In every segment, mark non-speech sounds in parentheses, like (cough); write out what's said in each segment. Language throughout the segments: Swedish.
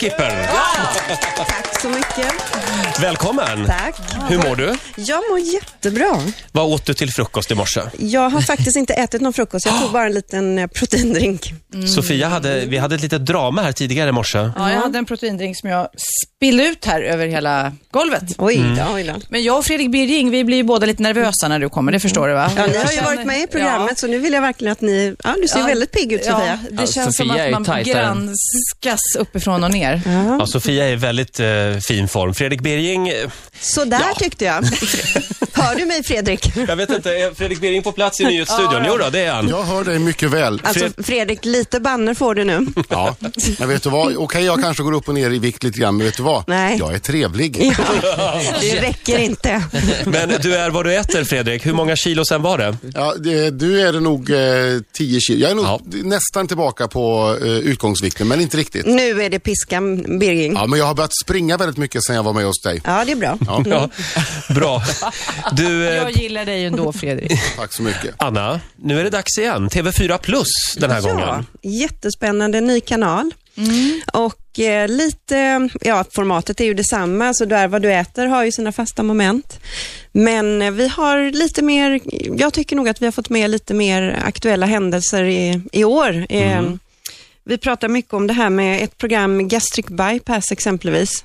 Skipper. Tack så mycket. Välkommen. Tack. Hur mår du? Jag mår jättebra. Vad åt du till frukost i morse? Jag har faktiskt inte ätit någon frukost. Jag tog bara en liten eh, proteindrink. Sofia, hade, vi hade ett litet drama här tidigare i morse. Ja, jag hade en proteindrink som jag spillde ut här över hela golvet. Oj då, oj då. Men jag och Fredrik Birging, vi blir ju båda lite nervösa när du kommer, det förstår du va? Ja, ni Jag har ju känner- varit med i programmet så nu vill jag verkligen att ni... Ja, du ser Ja. väldigt pigg ut Sofia. Ja, det Ja, känns som Sofia är ju att man tajtare. granskas uppifrån och ner. Ja, Sofia är i väldigt eh, fin form. Fredrik Birging, eh, Så där tyckte jag. (laughs) Hör du mig Fredrik? jag vet inte, är Fredrik Birging på (laughs) plats i nyhetsstudion? Jo då, det är han. Jag hör dig mycket väl. Alltså Fredrik, lite banner får du nu. Ja, men vet du vad? Okej, jag kanske går upp och ner i vikt lite grann, men vet du vad? Nej. Jag är trevlig. Det räcker inte. Men du är vad du äter Fredrik. Hur många kilo sen var det? Ja, det, du är det nog eh, 10 kilo. Jag är nog Ja. nästan tillbaka på eh, utgångsvikten, men inte riktigt. Nu är det piskan Birging. Ja, men jag har börjat springa väldigt mycket sedan jag var med hos dig. Ja, det är bra. Ja, bra. Du, eh, Jag gillar dig ändå (laughs) Fredrik. Tack så mycket. Anna, nu är det dags igen. TV4 Plus den här gången. Jättespännande ny kanal. Och eh, lite, ja formatet är ju detsamma, så där vad du äter har ju sina fasta moment. Men eh, vi har lite mer, jag tycker nog att vi har fått med lite mer aktuella händelser i, i år. Mm. Eh, Vi pratar mycket om det här med ett program, Gastric Bypass exempelvis.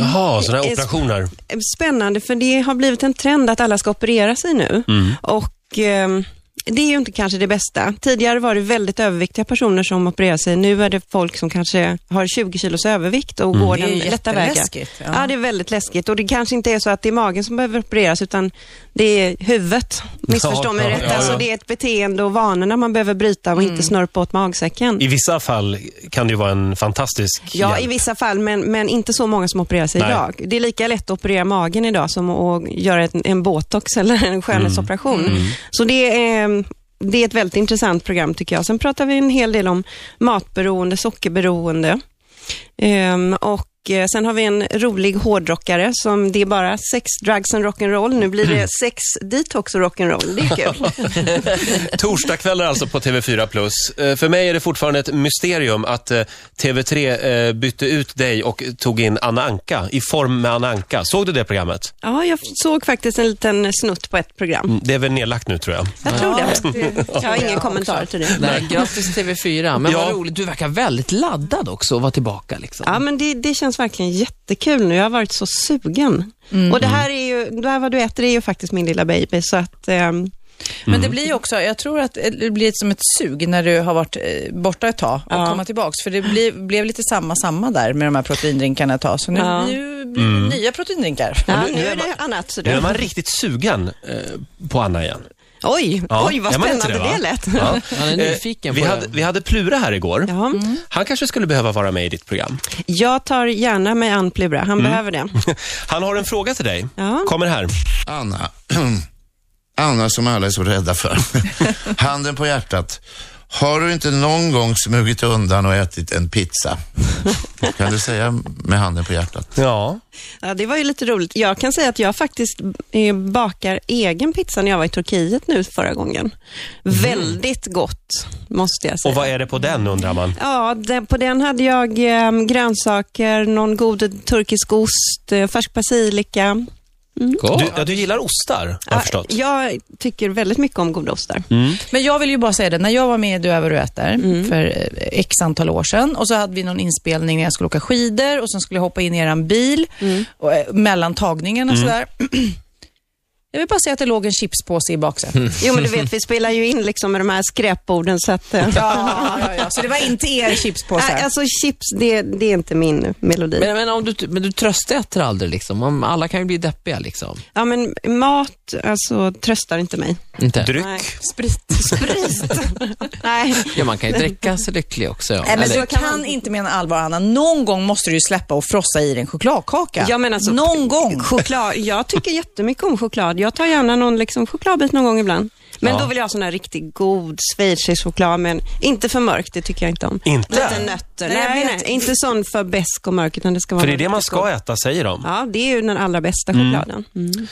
Jaha, sådana här operationer. Spännande, för det har blivit en trend att alla ska operera sig nu. Mm. Och ehm, det är ju inte kanske det bästa. Tidigare var det väldigt överviktiga personer som opererade sig. Nu är det folk som kanske har 20 kilos övervikt Mm. och går Det är den ju lätta vägen. jätteläskigt, Ja. ja. det är väldigt läskigt. Och det kanske inte är så att det är magen som behöver opereras, utan det är huvudet. Missförstå mig ja, rätt. ja, ja. Alltså det är ett beteende och vanorna man behöver bryta och Mm. inte snörpa åt magsäcken. I vissa fall kan det ju vara en fantastisk Ja, hjälp. i vissa fall, men, men inte så många som opererar sig Nej. idag. Det är lika lätt att operera magen idag som att göra en, en botox (laughs) eller en skönhetsoperation. Mm. Så det är, det är ett väldigt intressant program tycker jag. Sen pratar vi en hel del om matberoende, sockerberoende. Ehm, och eh, Sen har vi en rolig hårdrockare som det är bara sex, drugs and rock'n'roll. Nu blir Mm. det sex, detox och rock'n'roll. Det (laughs) är kul. Torsdagskvällar alltså på TV4 Plus. Eh, För mig är det fortfarande ett mysterium att eh, TV3 eh, bytte ut dig och tog in Anna Anka i form med Anna Anka. Såg du det programmet? Mm, Ja, jag såg faktiskt en liten snutt på ett program. Det är väl nedlagt nu tror jag. Jag tror det. Jag har ingen kommentar till det. Nej, grattis TV4. Men Ja. vad roligt, du verkar väldigt laddad också att vara tillbaka. Liksom. Ja, men det, det känns verkligen jättekul nu. Jag har varit så sugen. Mm. Och det här är ju, det här vad du äter är ju faktiskt min lilla baby, så att ehm, Men det blir ju också, jag tror att det blir som ett sug när du har varit eh, borta ett tag och Ja. komma tillbaks. För det blir, blev lite samma samma där med de här proteindrinkarna ett tag. Så nu Ja. blir ju- blir det nya proteindrinkar. ja, nu är det annat. Så Nu är du. man riktigt sugen eh, på Anna igen. Oj, Ja, oj vad är man inte spännande det, va? lät. Ja. Han är Eh, nyfiken vi, på hade, det. vi hade Plura här igår. Ja. Han kanske skulle behöva vara med i ditt program. (laughs) Jag tar gärna med Ann Plura, Mm. han behöver det. Han har en fråga till dig. Ja. Kommer här. Anna, (clears throat) Anna som alla är så rädda för. Handen på hjärtat. Har du inte någon gång smugit undan och ätit en pizza? Kan du säga med handen på hjärtat? Ja. Ja, det var ju lite roligt. Jag kan säga att jag faktiskt eh, bakar egen pizza när jag var i Turkiet nu förra gången. Väldigt gott, måste jag säga. Mm. Och vad är det på den undrar man? Ja, den, på den hade jag eh, grönsaker, någon god turkisk ost, eh, färsk basilika. Du, ja, du gillar ostar, har jag förstått. jag tycker väldigt mycket om goda ostar. Mm. Men jag vill ju bara säga det, när jag var med i Du är vad du äter för eh, x antal år sedan och så hade vi någon inspelning när jag skulle åka skidor och sen skulle jag hoppa in i eran bil och, eh, mellan tagningarna och sådär. (clears throat) Jag vill bara säga att det låg en chipspåse i baksätet. (laughs) Jo, men du vet, vi spelar ju in liksom med de här skräporden så att... eh, Ja, ja, ja. (laughs) Så det var inte er chipspåse? Nej, alltså chips, det, det är inte min melodi. Men, men, om du, men du tröstäter aldrig liksom? Man- Alla kan ju bli deppiga liksom. ja, men mat, alltså tröstar inte mig. Inte? Dryck. Nej. sprit. Sprit. (laughs) Nej. Ja, man kan ju dricka sig lycklig också. Ja. Nej, men Eller- du kan inte mena allvar, Anna. Någon gång måste du ju släppa och frossa i dig en chokladkaka. Ja, men alltså- Någon gång. Choklad, jag tycker jättemycket om choklad. Jag tar gärna någon liksom, chokladbit någon gång ibland. Men Ja. då vill jag ha sån här riktigt god schweizisk choklad, men inte för mörkt, det tycker jag inte om. Inte? Lite nötter. Nej, nej, inte sån för besk och mörk, utan det ska vara För det är det riktigt man god. ska äta, säger de. Ja, det är ju den allra bästa chokladen. Mm.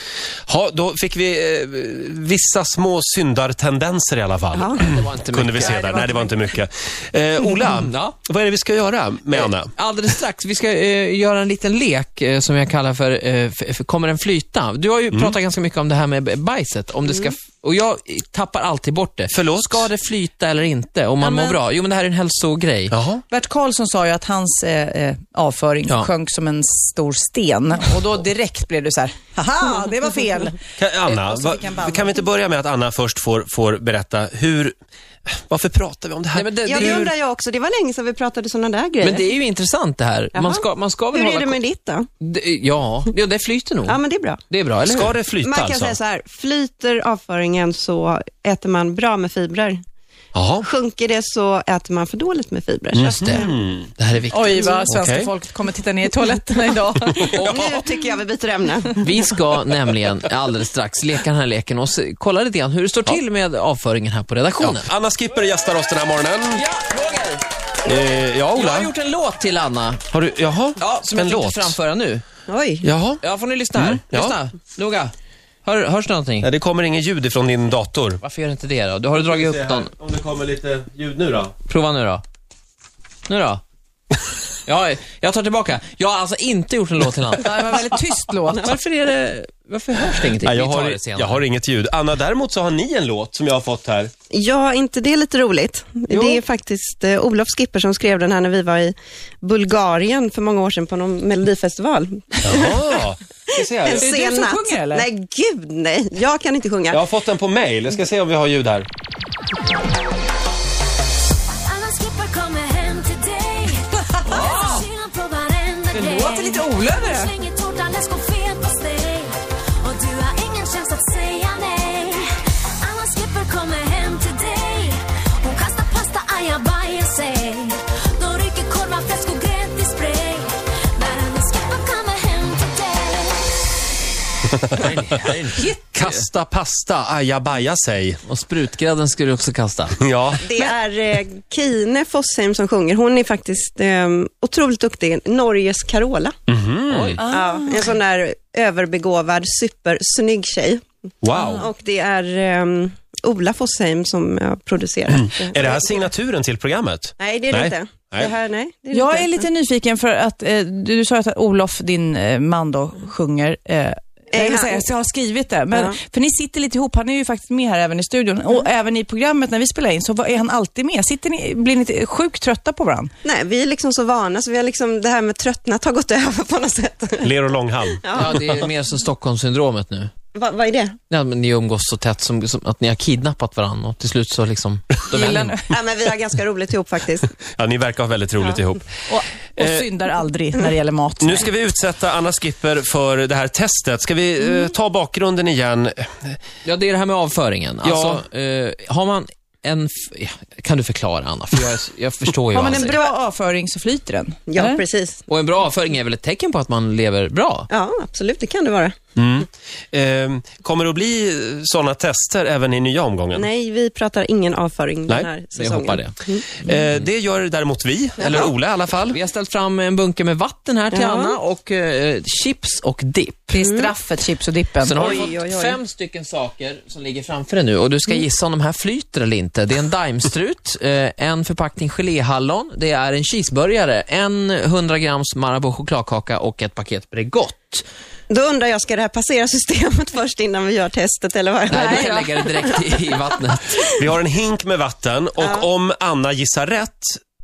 Ja, då fick vi eh, vissa små syndartendenser i alla fall. Ja. Det var inte Kunde vi mycket. se där. Nej, det var inte mycket. Eh, Ola, Ja. vad är det vi ska göra med Anna? Alldeles strax. Vi ska eh, göra en liten lek eh, som jag kallar för, eh, f- för Kommer den flyta? Du har ju Mm. pratat ganska mycket om det här med b- bajset. Om det ska, f- och jag eh, tappar alltid bort det. Förlåt? Ska det flyta eller inte? Om man Ja, men- mår bra? Jo, men det här är en hälsogrej. Jaha. Bert Karlsson sa ju att hans eh, eh, avföring Ja. sjönk som en stor sten och då direkt blev du så här, haha, det var fel. Kan, Anna, Och så va, fick han banna. kan Eh, vi inte börja med att Anna först får, får berätta hur... Varför pratar vi om det här? Nej, men, det, Ja, det, det är ju, undrar jag också. Det var länge sedan vi pratade såna där grejer. men det är ju intressant det här. Man Jaha. ska, man ska väl Hur hålla är det ko- med ditt då? det, Ja, jo, det flyter nog. Ja, men det är bra. Det är bra, eller Ska hur? det flyta Man kan alltså? säga så här, flyter avföringen så äter man bra med fibrer. Jaha. Sjunker det så äter man för dåligt med fibrer. Just det. Mm. Det här är viktigt. Oj, vad svenska Okej. folket kommer titta ner i toaletterna (laughs) idag. Och nu tycker jag vi byter ämne. Vi ska nämligen alldeles strax leka den här leken och se, kolla lite grann hur det står till med avföringen här på redaktionen. Anna Skipper gästar oss den här morgonen. Eh, ja, Jag har Ola. gjort en låt till Anna. Har du, jaha, Ja, som en jag låt. tänkte framföra nu. Oj. Jaha. Ja, får ni lyssna här. Mm, ja. Lyssna, noga. Hör, hörs det någonting? Nej, det kommer ingen ljud ifrån din dator. Varför gör det inte det då? Du har du dragit upp någon. Om det kommer lite ljud nu då? Prova nu då. (laughs) Nu då. Ja, jag tar tillbaka. Jag har alltså inte gjort en låt till Anna. (laughs) Ja, Det var en väldigt tyst låt. Varför är det... Varför hörs det ingenting? Nej, jag, Vi tar har, det senare. jag har inget ljud. Anna, däremot så har ni en låt som jag har fått här. Ja, inte det är lite roligt. Det är faktiskt eh, Olof Skipper som skrev den här när vi var i Bulgarien för många år sedan på någon melodifestival. Jaha. Ska se En här. du sen som natt. sjunger, eller? Nej, gud nej. Jag kan inte sjunga. Jag har fått den på mail. Jag ska se om vi har ljud här. Alla skippar kommer hem till (laughs) dig. Läser kylan på varenda Det grej. låter lite olödare. Du slänger tårtan, läsk och leverpastej. Och du har ingen chans att säga nej. Alla skippar kommer hem till dig. Hon kastar pasta, ajabaja, säg. De rycker korvar, fläsk och grädde i spray. När alla skippar kommer hem till dig. Kasta pasta, ajabaja sig. Och sprutgrädden ska du också kasta. Ja. Det är eh, Kine Fossheim som sjunger. Hon är faktiskt eh, otroligt duktig. Norges Carola. Mhm. Oj. Ja, en sån där överbegåvad, supersnygg tjej. Wow. Och det är eh, Ola Fossheim som har producerat. (clears throat) Är det här signaturen till programmet? Nej, det är det Nej. inte. Nej. Det här, nej, det är det Jag inte. är lite nyfiken för att eh, du, du sa ju att Olof, din eh, man då, sjunger. Eh, jag, vill han- säga, jag har skrivit det, men, Ja. för ni sitter lite ihop. Han är ju faktiskt med här även i studion och även i programmet när vi spelar in så var- är han alltid med. Sitter ni, blir ni inte sjukt trötta på varandra? Nej, vi är liksom så vana så vi har liksom, det här med tröttnat har gått (laughs) över på något sätt. Ler och Långhalm. Ja, det är mer som Stockholmssyndromet nu. Va, vad är det? Ja, men ni umgås så tätt som, som att ni har kidnappat varandra och till slut (laughs) så liksom... Då vänder ni. (laughs) Ja, men vi har ganska roligt ihop faktiskt. Ja, ni verkar ha väldigt roligt ihop. Och, och syndar aldrig när det gäller mat. Eh, Nu ska vi utsätta Anna Skipper för det här testet. Ska vi eh, ta bakgrunden igen? Ja, det är det här med avföringen. Ja. Alltså, eh, har man en... F- ja, kan du förklara, Anna? För jag, jag förstår ju Har vad man han en säger. bra avföring så flyter den. Ja, eller? precis. Och en bra avföring är väl ett tecken på att man lever bra? Ja, absolut, det kan det vara. Mm. Eh, kommer det att bli sådana tester även i nya omgången? Nej, vi pratar ingen avföring Nej, den här Vi säsongen. hoppar det. Eh, det gör däremot vi, eller Ola i alla fall. Vi har ställt fram en bunke med vatten här till Ja. Anna och eh, chips och dipp. Det är straffet, chips och dippen. Sen har Oj, du fått oj, Mm. oj. fem stycken saker som ligger framför dig nu och du ska gissa om de här flyter eller inte. Det är (laughs) en daimstrut, eh, en förpackning geléhallon, det är en cheeseburgare, en 100 grams Marabou chokladkaka och ett paket Bregott. Då undrar jag, ska det här passera systemet (laughs) först innan vi gör testet eller vad? Nej, du kan lägga det direkt i, i vattnet. Vi har en hink med vatten och om Anna gissar rätt,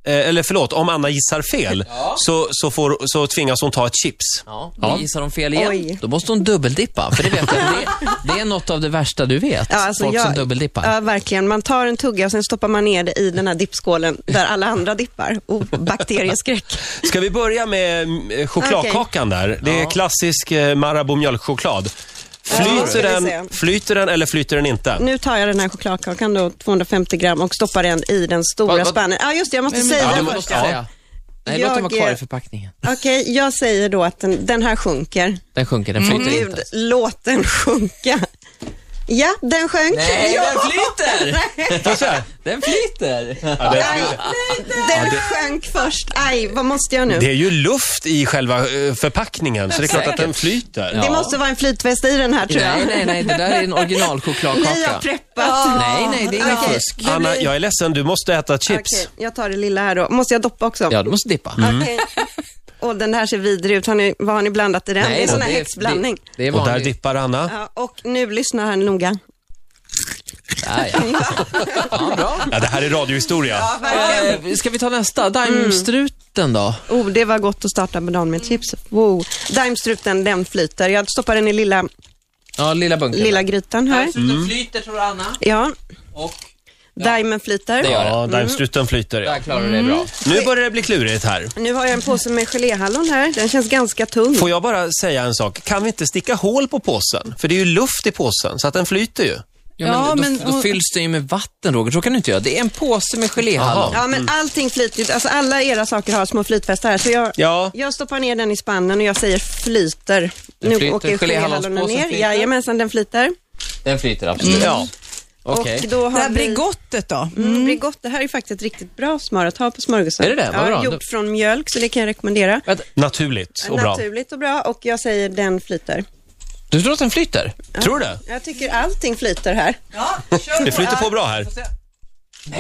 eh, eller förlåt, om Anna gissar fel, så, så, får, så tvingas hon ta ett chips. Ja, ja. Gissar de fel igen, Oj. då måste hon dubbeldippa. För det vet jag, det, det är något av det värsta du vet. Ja, alltså Folk som jag- dubbeldippar. Ja, verkligen. Man tar en tugga och sen stoppar man ner det i den här dippskålen där alla andra dippar. Och bakterieskräck. Ska vi börja med eh, chokladkakan där? Det är klassisk eh, Marabou mjölkchoklad. då ska Flyter, vi den, se. flyter den eller flyter den inte? Nu tar jag den här chokladkakan då, 250 gram och stoppar den i den stora Vad- vad- spannen. Ja, just det, jag måste säga Ja, det du först. måste säga. Nej, låt den vara Jag, kvar i eh, förpackningen. Okej, jag säger då att den, den här sjunker. Mm. Den sjunker, den flyter Gud, inte. låt den sjunka. Ja, den sjönk. Nej, ja. den (laughs) flyter! Får jag säga? Den flyter! Ja, det, Aj, den sjönk först. Aj, vad måste jag nu? det Det, är ju luft i själva eh, förpackningen, så det är klart att Säkert. den flyter. Ja. måste vara en flytväst i den här tror jag. Nej, nej, nej, det där är en Ni har originalchokladkaka. preppat. Ah, Nej, nej, det är inget Okej, fusk. det blir- Anna, jag är ledsen, du måste äta chips. Okej, jag tar det lilla här då. Måste jag doppa också? Ja, Mm. du måste dippa. Okej. Och den här ser vidrig ut. Har ni, vad har ni blandat i den? det är en sån här det- häxblandning. Det, det är Och där vanligt. dippar Anna. Ja, och nu lyssnar han noga. Ja, (laughs) ja. Ja, bra. Ja, det här är radiohistoria. Eh, Ska vi ta nästa? Daimstruten då? Oh, det var gott att starta med dagen med chips. Wow. Daimstruten, den flyter. Jag stoppar den i lilla, Ja, lilla bunkern. lilla grytan här. Daimstruten flyter tror Anna. Ja, Och daimen flyter. Det gör Ja, daimstruten flyter. Ja. där klarar du det Mm. bra. Nu börjar det bli klurigt här. Nu har jag en påse med geléhallon här. Den känns ganska tung. Får jag bara säga en sak? Kan vi inte sticka hål på påsen? För det är ju luft i påsen, så att den flyter ju. Ja, men, Ja, då, men- då fylls den ju med vatten, Roger. Så kan du inte göra. Det är en påse med geléhallon. Ja, men allting flyter. ju. Alltså, alla era saker har små flytvästar här. Så jag, Ja. jag stoppar ner den i spannen och jag säger flyter. Den nu flyter. åker geléhallonen Geléhallonspåsen ner. flyter. Jajamensan, den flyter. Den flyter absolut. Ja. Mm. Okej. Och då Det har här vi... Brigottet då? Mm. Brigott, det här är faktiskt ett riktigt bra smör att ha på smörgåsen. Är det det? Vad Ja, bra. gjort från mjölk, så det kan jag rekommendera. Vänta, Naturligt och bra. Naturligt och bra och jag säger den flyter. Du tror att den flyter? Tror du det? Jag tycker allting flyter här. Det flyter på bra här.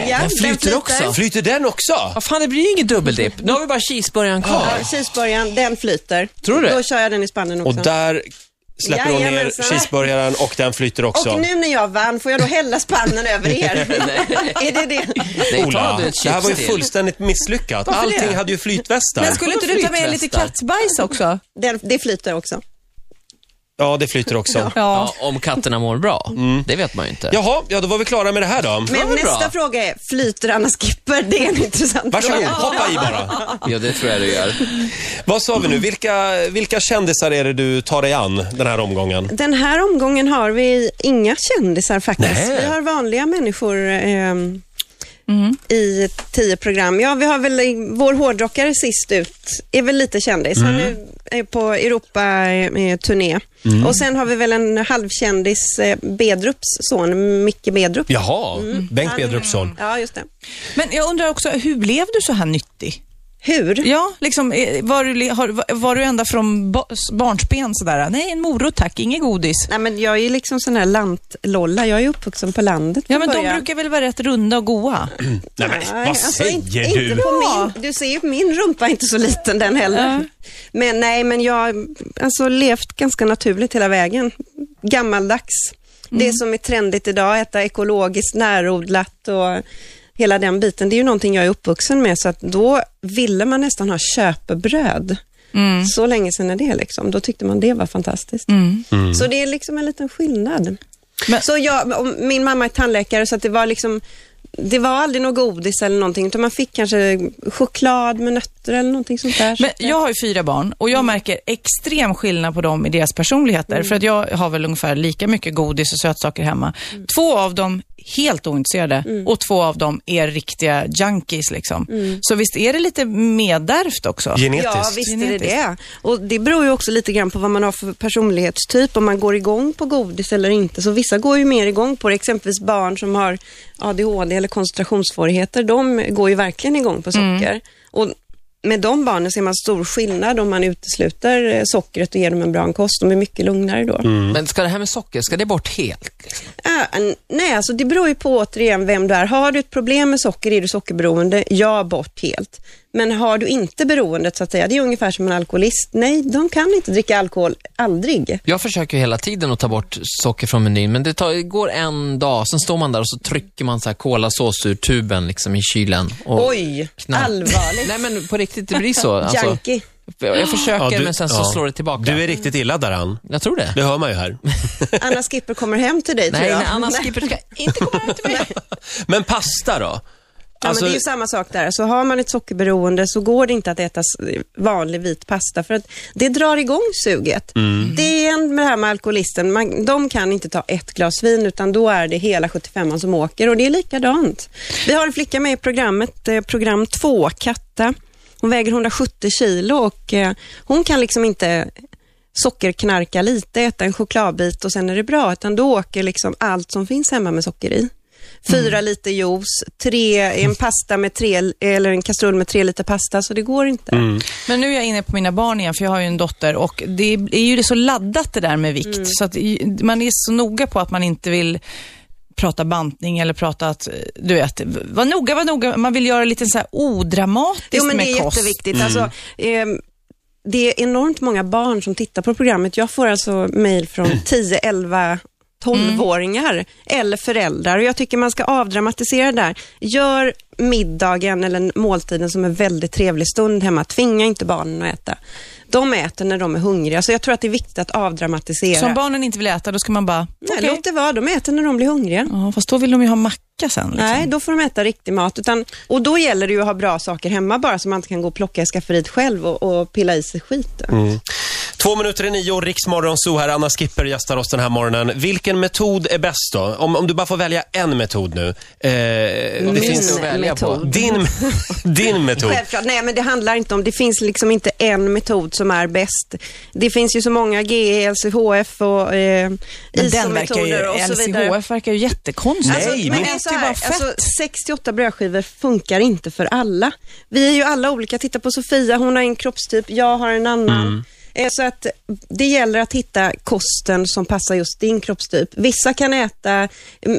ja, den flyter också. Flyter den också? Vad fan, det blir ju ingen dubbeldipp. Nu har vi bara cheeseburgaren kvar. Ja, cheeseburgaren, den flyter. Tror du det? Då kör jag den i spannen också. Och där släpper hon ner Jajamensan. cheeseburgaren och den flyter Och också. nu när jag vann, får jag då hälla spannen (laughs) över er? är det det? Nej, Ola, ta du ett chips det här var ju till. fullständigt misslyckat. Allting hade ju flytvästar. Men skulle inte du ta med lite Flytvästar. kattbajs också? Den, det flyter också. Ja, det flyter också. Ja. Ja, om katterna mår bra. Det vet man ju inte. Jaha, ja då var vi klara med det här då. Men var bra. nästa fråga är, flyter Anna Skipper? Det är en intressant Varsågod, fråga. hoppa i bara. Ja, det tror jag du gör. Vad sa vi nu? Vilka, vilka kändisar är det du tar dig an den här omgången? Den här omgången har vi inga kändisar faktiskt. Nej. Vi har vanliga människor ehm, Mm. i tio program. Ja, vi har väl eh, vår hårdrockare sist ut, är väl lite kändis. Han är är på Europa-turné. Och sen har vi väl en halvkändis, eh, Bedrups son, Micke Bedrup. Jaha, Mm. Bengt Bedrupsson. Ja, just det. Men jag undrar också, hur blev du så här nyttig? Hur? Ja, liksom, eh, var, du, li- har, var du ända från ba- s- barnsben sådär? Nej, en morot tack, inget godis. Nej, men jag är ju liksom sån här lantlolla. Jag är ju uppvuxen på landet Ja, från men de början. brukar väl vara rätt runda och goa? Nej, men vad alltså, inte, säger Inte du? på min, du ser ju på min rumpa är inte så liten den heller. Men nej, men jag har alltså, levt ganska naturligt hela vägen. Gammaldags. Det som är trendigt idag, äta ekologiskt, närodlat och hela den biten. Det är ju någonting jag är uppvuxen med, så att då ville man nästan ha köpebröd. Så länge sedan är det liksom. Då tyckte man det var fantastiskt. Så det är liksom en liten skillnad. Men- Så jag, och min mamma är tandläkare så att det var liksom det var aldrig något godis eller någonting, utan man fick kanske choklad med nötter eller någonting sånt där. eh, Men jag har ju fyra barn och jag Mm. märker extrem skillnad på dem i deras personligheter. För att jag har väl ungefär lika mycket godis och sötsaker hemma. Mm. Två av dem helt ointresserade och två av dem är riktiga junkies liksom. Mm. Så visst är det lite medärvt också? Ja, Genetiskt. visst är det det. Och det beror ju också lite grann på vad man har för personlighetstyp, om man går igång på godis eller inte. Så vissa går ju mer igång på det, exempelvis barn som har ADHD eller koncentrationssvårigheter, de går ju verkligen igång på socker. Och med de barnen ser man stor skillnad om man utesluter eh, sockret och ger dem en bra kost. De är mycket lugnare då. Men ska det här med socker, ska det bort helt? Liksom? Ah, n- nej, alltså det beror ju på återigen vem du är. Har du ett problem med socker, är du sockerberoende? Ja, bort helt. Men har du inte beroendet, så att säga, det är ungefär som en alkoholist. Nej, de kan inte dricka alkohol, aldrig. Jag försöker ju hela tiden att ta bort socker från menyn, men det tar, går en dag, sen står man där och så trycker man så här kolasås ur tuben liksom i kylen. Och Oj, knall- allvarligt. Nej men på riktigt, det blir (laughs) så. Alltså, Junkie. jag försöker, Ja, du- men sen så ja. slår det tillbaka. Du är riktigt illa däran. Jag tror det. Det hör man ju (laughs) här. Anna Skipper kommer hem till dig, tror Nej, jag. nej, Anna Nej. Skipper ska inte komma hem (laughs) till mig. Men pasta då? Ja, Alltså- men det är ju samma sak där. Så har man ett sockerberoende så går det inte att äta s- vanlig vit pasta för att det drar igång suget. Det är igen med det här med alkoholisten. Man, de kan inte ta ett glas vin utan då är det hela 75an som åker och det är likadant. Vi har en flicka med i programmet, eh, program 2, Katta. Hon väger 170 kilo och eh, hon kan liksom inte sockerknarka lite, äta en chokladbit och sen är det bra, utan då åker liksom allt som finns hemma med socker i. Fyra liter juice, tre, en pasta med tre, eller en kastrull med tre liter pasta, så det går inte. Men nu är jag inne på mina barn igen, för jag har ju en dotter och det är ju så laddat det där med Mm. vikt. Så att i- man är så noga på att man inte vill prata bantning eller prata att, eh, du vet, var noga, var noga. Man vill göra lite så här odramatiskt Jo, men med det är kost. jätteviktigt. Alltså, ehm, det är enormt många barn som tittar på programmet. Jag får alltså mejl från 10, 11, 12-åringar eller föräldrar. Och jag tycker man ska avdramatisera det där. Gör middagen eller måltiden som en väldigt trevlig stund hemma. Tvinga inte barnen att äta. De äter när de är hungriga, så jag tror att det är viktigt att avdramatisera. Så om barnen inte vill äta, då ska man bara, Nej, okej. Låt det vara, de äter när de blir hungriga. Ja, fast då vill de ju ha macka sen. Liksom. Nej, då får de äta riktig mat. Utan, och då gäller det ju att ha bra saker hemma bara, så man inte kan gå och plocka i skafferiet själv och, och pilla i sig skiten. Mm. Alltså, mm. Två minuter i nio, Riksmorgon så här. Anna Skipper gästar oss den här morgonen. Vilken metod är bäst då? Om, om du bara får välja en metod nu. Eh, det Vad Min finns det att välja på? metod. Din, (laughs) din metod. (laughs) Självklart, nej men det handlar inte om, det finns liksom inte en metod som är bäst. Det finns ju så många GE, LCHF och eh, Men den verkar ju, ISO-metoder och så vidare. LCHF verkar ju jättekonstig. Nej, Alltså, men men det alltså, är ju bara här, fett. alltså, 68 brödskivor funkar inte för alla. Vi är ju alla olika. Titta på Sofia, hon har en kroppstyp, jag har en annan. Mm. Eh, Så att det gäller att hitta kosten som passar just din kroppstyp. Vissa kan äta m-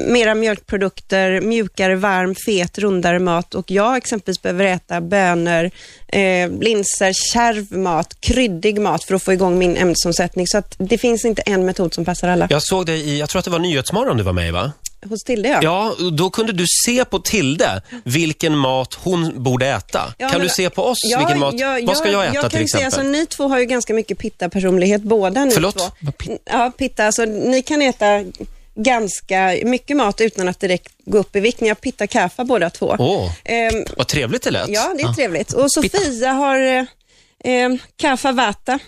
mera mjölkprodukter, mjukare, varm, fet, rundare mat och jag exempelvis behöver äta bönor, eh, linser, kärv mat, kryddig mat för att få igång min ämnesomsättning. Så att det finns inte en metod som passar alla. Jag såg dig i, jag tror att det var Nyhetsmorgon du var med i va? Hos Tilde ja. Ja, och då kunde du se på Tilde vilken mat hon borde äta. Ja, kan men- du se på oss Ja, vilken mat, vad ska jag äta jag till kan exempel? säga, alltså, ni två har ju ganska mycket pitta-personlighet båda ni Förlåt? två. Ja, pitta, alltså ni kan äta ganska mycket mat utan att direkt gå upp i vikt. Ni har pitta kaffa båda två. Åh, Ehm, vad trevligt det lät. ja, det är trevligt. Och Sofia har eh, eh, kaffa vata.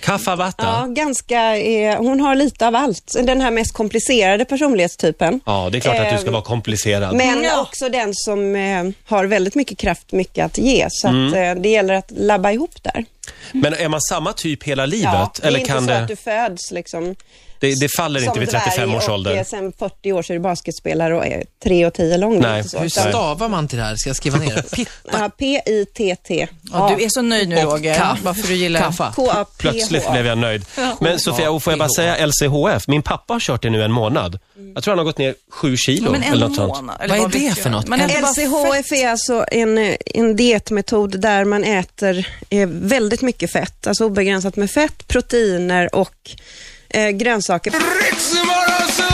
Kaffavatta. Ja, Ja. ganska, eh, hon har lite av allt. Den här mest komplicerade personlighetstypen. det är klart att du ska Ehm, vara komplicerad. Men också den som eh, har väldigt mycket kraft, mycket att ge. Så Mm. att, eh, det gäller att labba ihop där. Men är man samma typ hela livet? det är eller inte kan så det, att du föds liksom. det, det faller inte vid 35 års Och, eh, ålder? sen 40 år så är du basketspelare och är 3 och 10 lång. Det är Nej, inte så, Hur utan- stavar man till det här? Ska jag skriva ner? (laughs) Pitt Ja, P-I-T-T. Ja, du är så nöjd nu och Roger, kaff. varför du gillar kaffa. K-A-P-H. Plötsligt blev jag nöjd. Men Sofia, och får jag bara säga LCHF? Min pappa har kört det nu en månad. Jag tror han har gått ner 7 kilo. Ja, men en eller något sånt. månad. Vad är det vet för jag? något? Man äter bara fett. LCHF är alltså en, eh, en dietmetod där man äter eh, väldigt mycket fett, alltså obegränsat med fett, proteiner och eh, grönsaker. Ritzmorgonzoo!